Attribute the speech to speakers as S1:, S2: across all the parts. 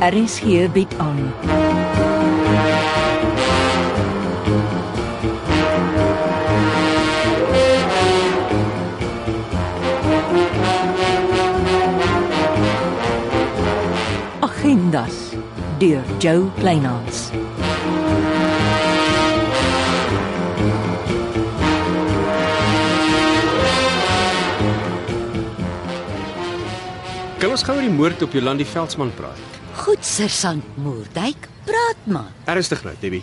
S1: RSG bied aan. Agendas deur Jo Kleinhans.
S2: Kan ons gou oor die moord op Jolandi Veldsmann praat?
S3: Goed, sergeant Moerdijk, praat maar.
S2: Ernstig nou, Debbie.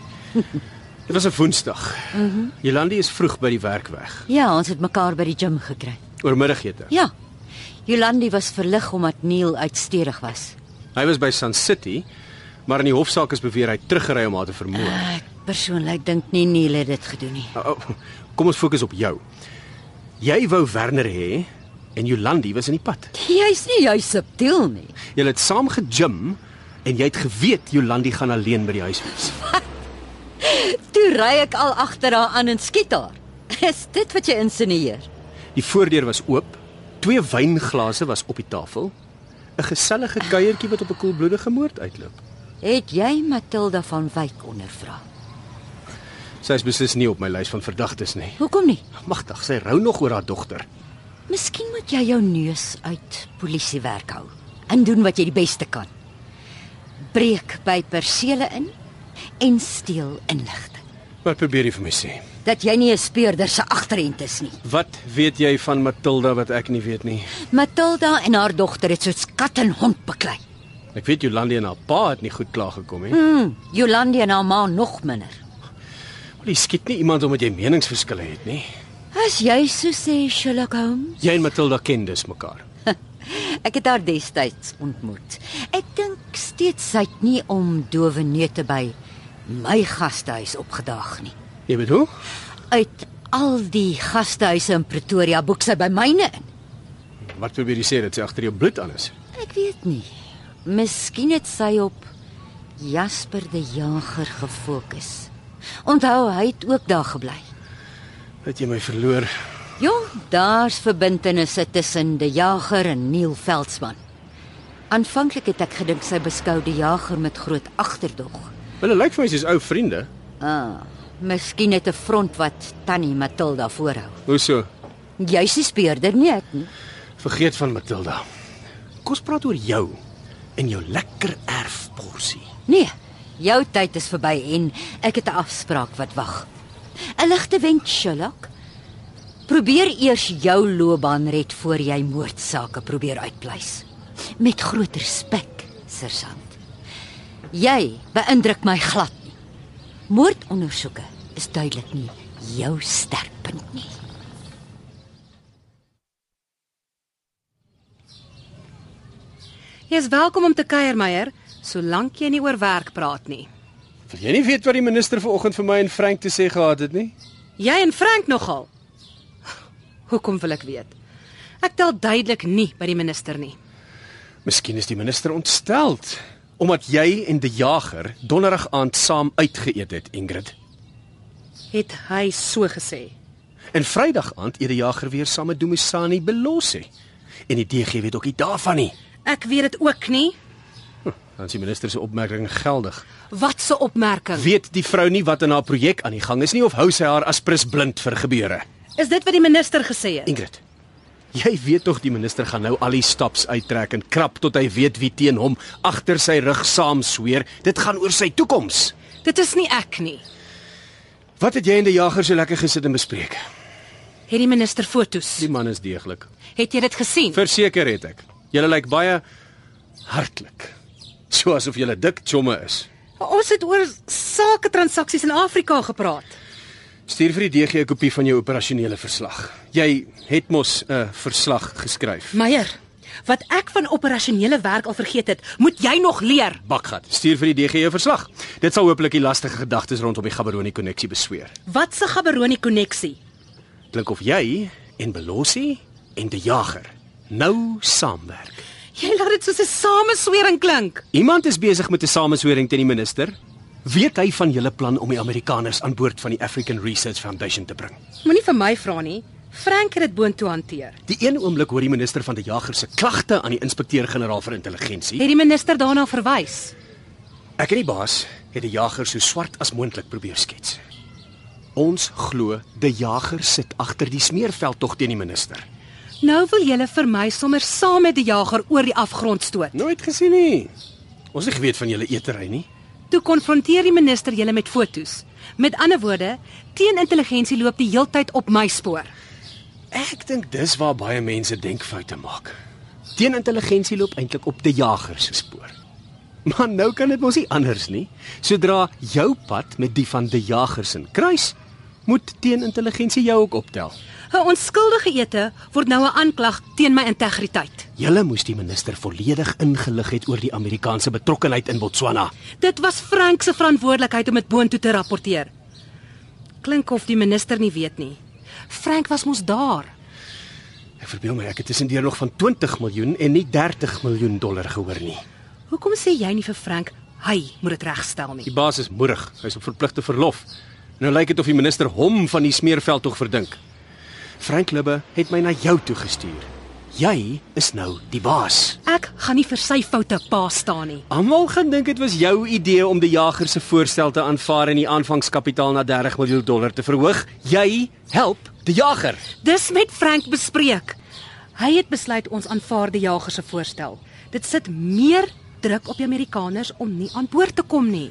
S2: Dit was 'n Woensdag. Mhm. Jolandi is vroeg by die werk weg.
S3: Ja, ons het mekaar by die gim gekry.
S2: Oormiddagete.
S3: Ja. Jolandi was verlig omdat Neil uitstedig was.
S2: Hy was by San City, maar in die hofsaak is beweer hy het teruggery om haar te vermoor.
S3: Ek persoonlik dink nie Neil het dit gedoen nie.
S2: Oh, oh, kom ons fokus op jou. Jy wou Werner hê en Jolandi was in die pad.
S3: Jy's nie jy subtiel nie.
S2: Julle het saam gegym en jy het geweet Jolandi gaan alleen by die huis wees.
S3: Toe ry ek al agter haar aan en skiet haar. Is dit wat jy insinieer?
S2: Die voordeur was oop. Twee wynglase was op die tafel. 'n Gesellige kuiertjie wat op 'n koelbloedige moord uitloop.
S3: Het jy Matilda van Wyk ondervra?
S2: Sy is beslis nie op my lys van verdagtes nie.
S3: Hoekom nie?
S2: Magtig, sy rou nog oor haar dogter.
S3: Miskien moet jy jou neus uit polisiewerk hou en doen wat jy die beste kan. Breek by persele in en steel inligting
S2: Maar probeer jy vir my sê.
S3: dat jy nie 'n speurder se agterend is nie.
S2: Wat weet jy van Matilda wat ek nie weet nie?
S3: Matilda en haar dogter het soos kat en hond beklei.
S2: Ek weet Jolande en haar pa het nie goed klaar gekom nie.
S3: Mm, Jolande en haar ma nog minder.
S2: Maar jy skiet nie iemand omdat jy meningsverskille het nie.
S3: As jy so sê Sherlock Holmes,
S2: Jy en Matilda ken dus mekaar.
S3: ek het haar destyds ontmoet. Ek dink steeds sy het nie om dowe neute by my gastehuis opgedaag nie.
S2: Jy weet hoe?
S3: Uit al die gastehuise in Pretoria boek sy by myne in.
S2: Wat probeer jy sê dat sy agter jou bloed aan is?
S3: Ek weet nie. Miskien het sy op Jasper die Jager gefokus. Onthou hy het ook daar gebly.
S2: Het jy my verloor?
S3: Jong, daar's verbintenisse tussen die Jager en Neil Veldsmann. Aanvanklik het ek gedink sy beskou die Jager met groot agterdog.
S2: Hulle lyk vir my soos ou vriende.
S3: Ah, miskien het 'n front wat Tannie Matilda voorhou.
S2: Hoe so?
S3: Jy's die speurder nie ek nie.
S2: Vergeet van Matilda. Kom ons praat oor jou en jou lekker erfporsie.
S3: Nee, jou tyd is verby en ek het 'n afspraak wat wag. 'n Ligte wenk, Sherlock. Probeer eers jou loopbaan red voor jy moordsake probeer uitpleis. Met groot respek, sergeant. Jy beïndruk my glad nie. Moordondersoeke is duidelik nie jou sterkpunt nie.
S4: Jy is welkom om te kuier, Meyer, solank jy nie oor werk praat nie.
S2: Wil jy nie weet wat die minister vanoggend vir my en Frank te sê gehad het nie?
S4: Jy en Frank nogal. Hoekom wil ek weet? Ek tel duidelik nie by die minister nie.
S2: Miskien is die minister ontsteld omdat jy en die jager donderdag aand saam uitgeëet het, Ingrid.
S4: Het hy so gesê?
S2: En Vrydag aand eet die jager weer saam met Domisani Belossi. En die DG weet ook nie daarvan nie.
S4: Ek weet dit ook nie.
S2: Dan is die minister se opmerking geldig.
S4: Wat 'n opmerking.
S2: Weet die vrou nie wat in haar projek aan die gang is nie of hou sy haar as prins blind vir gebeure?
S4: Is dit wat die minister gesê het?
S2: Ingrid, jy weet tog die minister gaan nou al die staps uittrek en krap tot hy weet wie teen hom agter sy rug saam sweer. Dit gaan oor sy toekoms.
S4: Dit is nie ek nie.
S2: Wat het jy en die jager so lekker gesit en bespreek?
S4: Het die minister fotos?
S2: Die man is deeglik.
S4: Het jy dit gesien?
S2: Verseker het ek. Julle lyk baie hartlik. So asof julle dik chomme is.
S4: Ons het oor sake transaksies in Afrika gepraat.
S2: Stuur vir die DG 'n kopie van jou operasionele verslag. Jy het mos 'n verslag geskryf.
S4: Meyer, wat ek van operasionele werk al vergeet het, moet jy nog leer.
S2: Bakgat. Stuur vir die DG jou verslag. Dit sal hopelik die lastige gedagtes rondom die Gaberoni koneksie besweer.
S4: Wat se Gaberoni koneksie?
S2: Klink of jy en Belossi en die jager nou saamwerk.
S4: Jy laat dit soos 'n sameswering klink.
S2: Iemand is besig met 'n sameshoring teen die minister. Weet hy van julle plan om die Amerikaners aan boord van die African Research Foundation te bring?
S4: Moenie vir my vra nie. Frank het dit boontoe hanteer.
S2: Die een oomblik hoor die minister van die Jager se klagte aan die inspekteur-generaal vir intelligensie.
S4: Het die minister daarna verwys?
S2: Ek en die baas het die jager so swart as moontlik probeer skets. Ons glo die jager sit agter die smeerveld tog teen die minister.
S4: Nou wil julle vir my sommer saam met die jager oor die afgrond stoot.
S2: Nooit gesien nie. Ons het nie geweet van julle eetery nie.
S4: Toe konfronteer die minister julle met fotos. Met ander woorde, teen intelligensie loop die heeltyd op my spoor.
S2: Ek dink dis waar baie mense denkfoute maak. Teen intelligensie loop eintlik op die jager se spoor. Maar nou kan dit mos nie anders nie. Sodra jou pad met die van die jager se kruis, moet teen intelligensie jou ook optel.
S4: 'n Onskuldige ete word nou 'n aanklag teen my integriteit.
S2: Julle moes die minister volledig ingelig het oor die Amerikaanse betrokkeheid in Botswana.
S4: Dit was Frank se verantwoordelikheid om dit boontoe te rapporteer. Klink of die minister nie weet nie. Frank was mos daar.
S2: Ek verbeel my ek het tussendeur nog van 20 miljoen en nie 30 miljoen dollar gehoor nie.
S4: Hoekom sê jy nie vir Frank hy moet dit regstel nie?
S2: Die baas is moedig. Hy's op verpligte verlof. Nou lyk dit of die minister hom van die smeerveld tog verdink. Frank Libbe het my na jou toe gestuur. Jy is nou die baas.
S4: Ek gaan nie vir sy foute pa staan nie.
S2: Almal gedink dit was jou idee om die jager se voorstel te aanvaar en die aanvangskapitaal na 30 miljoen dollar te verhoog. Jy help die jager.
S4: Dis met Frank bespreek. Hy het besluit ons aanvaar die jager se voorstel. Dit sit meer druk op die Amerikaners om nie aan boord te kom nie.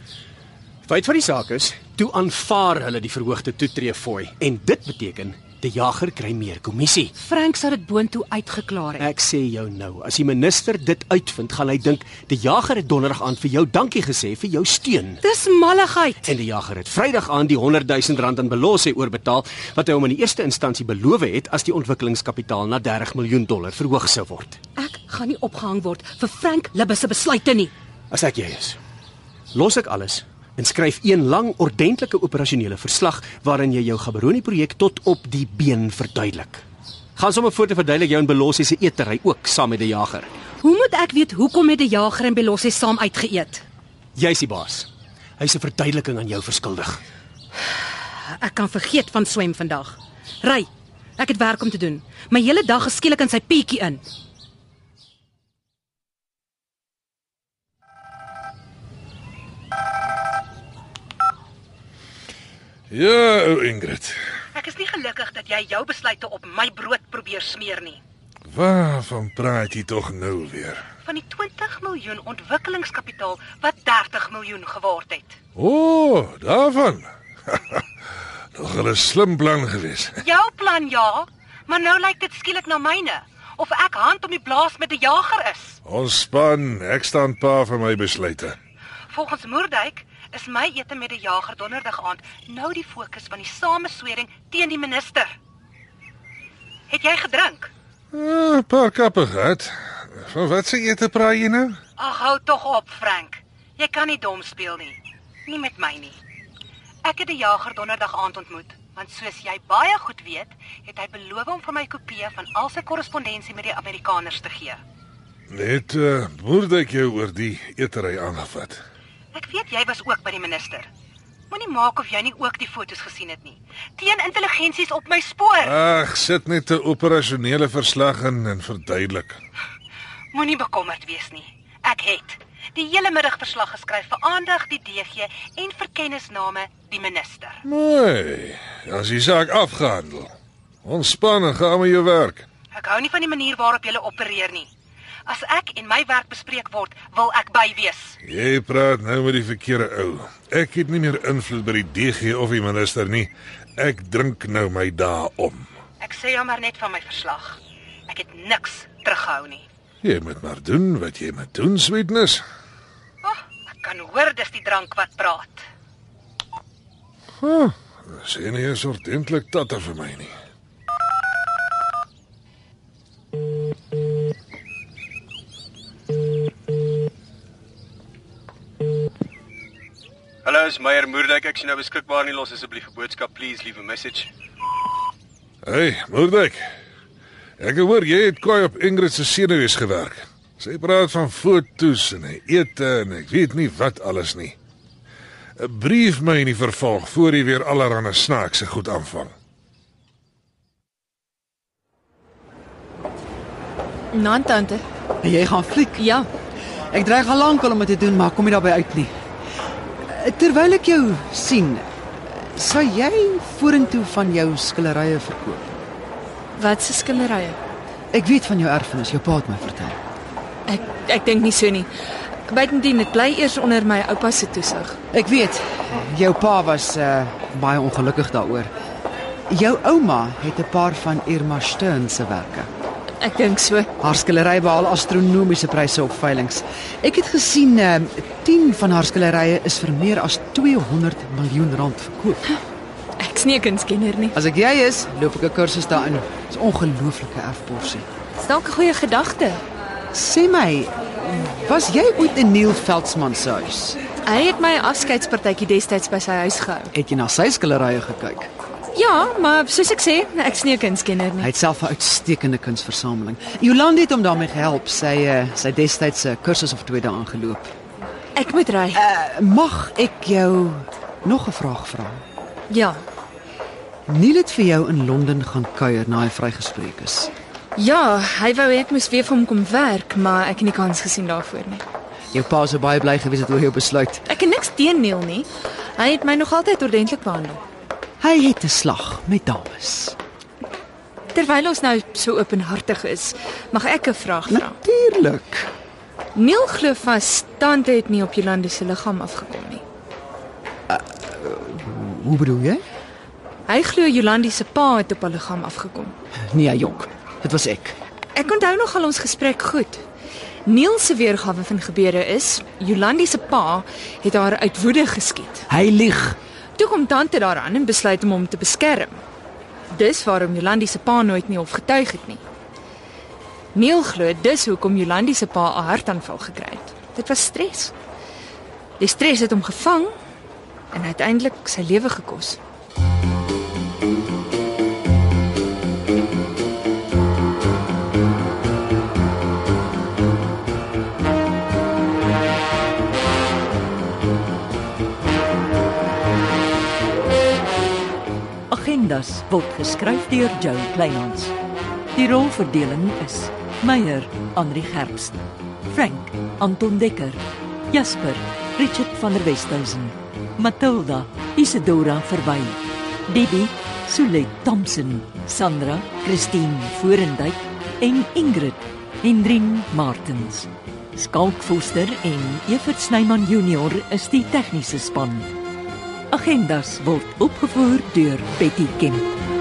S2: Feit van die saak is, toe aanvaar hulle die verhoogde toetree fooi en dit beteken die jager kry meer kommissie.
S4: Frank sou dit boontoe uitgeklaar het.
S2: Ek sê jou nou, as die minister dit uitvind, gaan hy dink die jager het donderdag aan vir jou dankie gesê vir jou steun.
S4: Dis malligheid.
S2: En die jager het Vrydag aan die 100 000 rand aan Belose oorbetaal wat hy hom in die eerste instansie beloof het as die ontwikkelingskapitaal na 30 miljoen dollar verhoog sou word.
S4: Ek gaan nie opgehang word vir Frank Libbe se besluite nie.
S2: As ek jy is, los ek alles en skryf een lang ordentlike operasionele verslag waarin jy jou Gaborone projek tot op die been verduidelik. Gaan sommer voort en verduidelik jou en Belose se eetery ook saam met die jager.
S4: Hoe moet ek weet hoekom het die jager en Belossie saam uitgeëet?
S2: Jy's die baas. Hy's 'n verduideliking aan jou verskuldig.
S4: Ek kan vergeet van swem vandag. Ry. Ek het werk om te doen. My hele dag geskielik in sy pietjie in.
S5: Ja, ou Ingrid.
S4: Ek is nie gelukkig dat jy jou besluite op my brood probeer smeer nie.
S5: Waarvan praat jy tog nou weer?
S4: van die 20 miljoen ontwikkelingskapitaal wat 30 miljoen geword het.
S5: O, oh, daarvan. Nog 'n slim plan gewees.
S4: Jou plan ja, maar nou lyk dit skielik na myne of ek hand om die blaas met 'n jager is.
S5: Ons span, ek staan pa vir my besluite.
S4: Volgens Moerdijk is my ete met 'n jager donderdag aand nou die fokus van die sameswering teen die minister. Het jy gedrink?
S5: 'n ah, Paar kappe gehad. Van wat se ete praat jy nou?
S4: Ag Ah, hou tog op, Frank. Jy kan nie dom speel nie. Nie met my nie. Ek het die jager donderdag aand ontmoet, want soos jy baie goed weet, het hy beloof om vir my kopieë van al sy korrespondensie met die Amerikaners te gee.
S5: Net uh, moorde ek jou oor die eetery aangevat.
S4: Ek weet jy was ook by die minister. Moenie maak of jy nie ook die fotos gesien het nie. Teen intelligensies op my spoor.
S5: Ag, sit net 'n operasionele verslag in en verduidelik.
S4: Moenie bekommerd wees nie. Ek het die hele middag verslag geskryf vir aandag die DG en vir kennisname die minister.
S5: Mooi. As die saak afgehandel. Ontspan en gaan met jou werk.
S4: Ek hou nie van die manier waarop jy opereer nie. As ek en my werk bespreek word, wil ek by wees.
S5: Jy praat nou met die verkeerde ou. Ek het nie meer invloed by die DG of die minister nie. Ek drink nou my dae om.
S4: Ek sê jou maar net van my verslag. Ek het niks terughou nie.
S5: Jy moet maar doen wat jy moet doen, sweetness.
S4: Oh, ek kan hoor dis die drank wat praat.
S5: Sê nie eens ordentlik tatter vir my nie.
S2: Hallo, is Meyer Moerdijk. Ek sien nou beskikbaar nie los asseblief 'n boodskap, please leave a message.
S5: Hey, Moerdijk. Ek hoor jy het kwaai op Ingrid se senuwees gewerk. Sy praat van fotos en hy ete en ek weet nie wat alles nie. 'n Brief my in die vervolg voor jy weer allerlei snaakse goed aanvang.
S6: Nan Nou, tante.
S7: En jy gaan fliek.
S6: Ja,
S7: Ek dreig al lank al om dit te doen, maar kom nie daarby uit nie. Eh, Terwyl ek jou sien, eh, sal jy vorentoe van jou skillerye verkoop?
S6: wat se skilderye?
S7: Ek weet van jou erfenis, jou pa het my vertel.
S6: Ek ek dink nie so nie. Buitendien dit bly eers onder my oupa se toesig.
S7: Ek weet, jou pa was uh, baie ongelukkig daaroor. Jou ouma het 'n paar van Irma Stern se werke.
S6: Ek dink so.
S7: Haar skillerye behaal astronomiese pryse op veilinge. Ek het gesien uh, 10 van haar skillerye is vir meer as 200 miljoen rand verkoop.
S6: Ek's nie 'n kunstkenner nie.
S7: As ek jy is, loop ek 'n kursus daarin. Dis ongelooflike erfporsie.
S6: Dis dalk 'n goeie gedagte.
S7: Sê my, was jy ooit in Neil Veldsmann se huis?
S6: Hy het my afskeidspartytjie destyds by sy huis gehou.
S7: Het jy na sy skillerye gekyk?
S6: Ja, maar soos ek sê, ek's nie 'n kunstkenner
S7: Hy
S6: nie.
S7: het self 'n uitstekende kunsversameling. Jolande het hom daarmee gehelp. Sy eh, sy destyds 'n kursus of twee daaraan geloop.
S6: Ek moet ry.
S7: Uh, mag ek jou nog 'n vraag vra?
S6: Ja.
S7: Neil het vir jou in Londen gaan kuier na hy vrygespreek is.
S6: Ja, hy wou hê ek moes weer vir hom kom werk, maar ek het nie kans gesien daarvoor nie.
S7: Jou pa sou baie bly gewees het oor jou besluit.
S6: Ek het niks teen Neil nie. Hy het my nog altyd ordentlik behandel.
S7: Hy het 'n slag met dames.
S6: Terwyl ons nou so openhartig is, mag ek 'n vraag vra?
S7: Natuurlik.
S6: Neil glo vas tante het nie op Jolande se liggaam afgekom nie.
S7: Hoe bedoel jy?
S6: Hy glo Jolande se pa het op haar liggaam afgekom.
S7: Nee, jonk. Dit was ek.
S6: Ek onthou nog al ons gesprek goed. Neil se weergawe van gebeure is Jolande se pa het haar uit woede geskiet.
S7: Hy lieg.
S6: Toe kom tante daaraan en besluit om hom te beskerm. Dis waarom Jolande se pa nooit nie hof getuig het nie. Neil glo dis hoekom Jolande se pa 'n hartaanval gekry het. Dit was stres. Die stres het hom gevang en uiteindelik sy lewe gekos.
S1: Agendas word geskryf deur Joe Kleinhans. Die rolverdeling is: Meyer, Andri Gerbst, Frank, Anton Dekker, Jasper, Richard van der Westhuizen, Matilda, Isidora Verwy, Debbie, Sulet Thompson, Sandra, Christine Forendyk en Ingrid Hendrin Martens. Skalk Foster en Evert Snyman Junior is die tegniese span. Agendas word opgevoer deur Betty Kemp.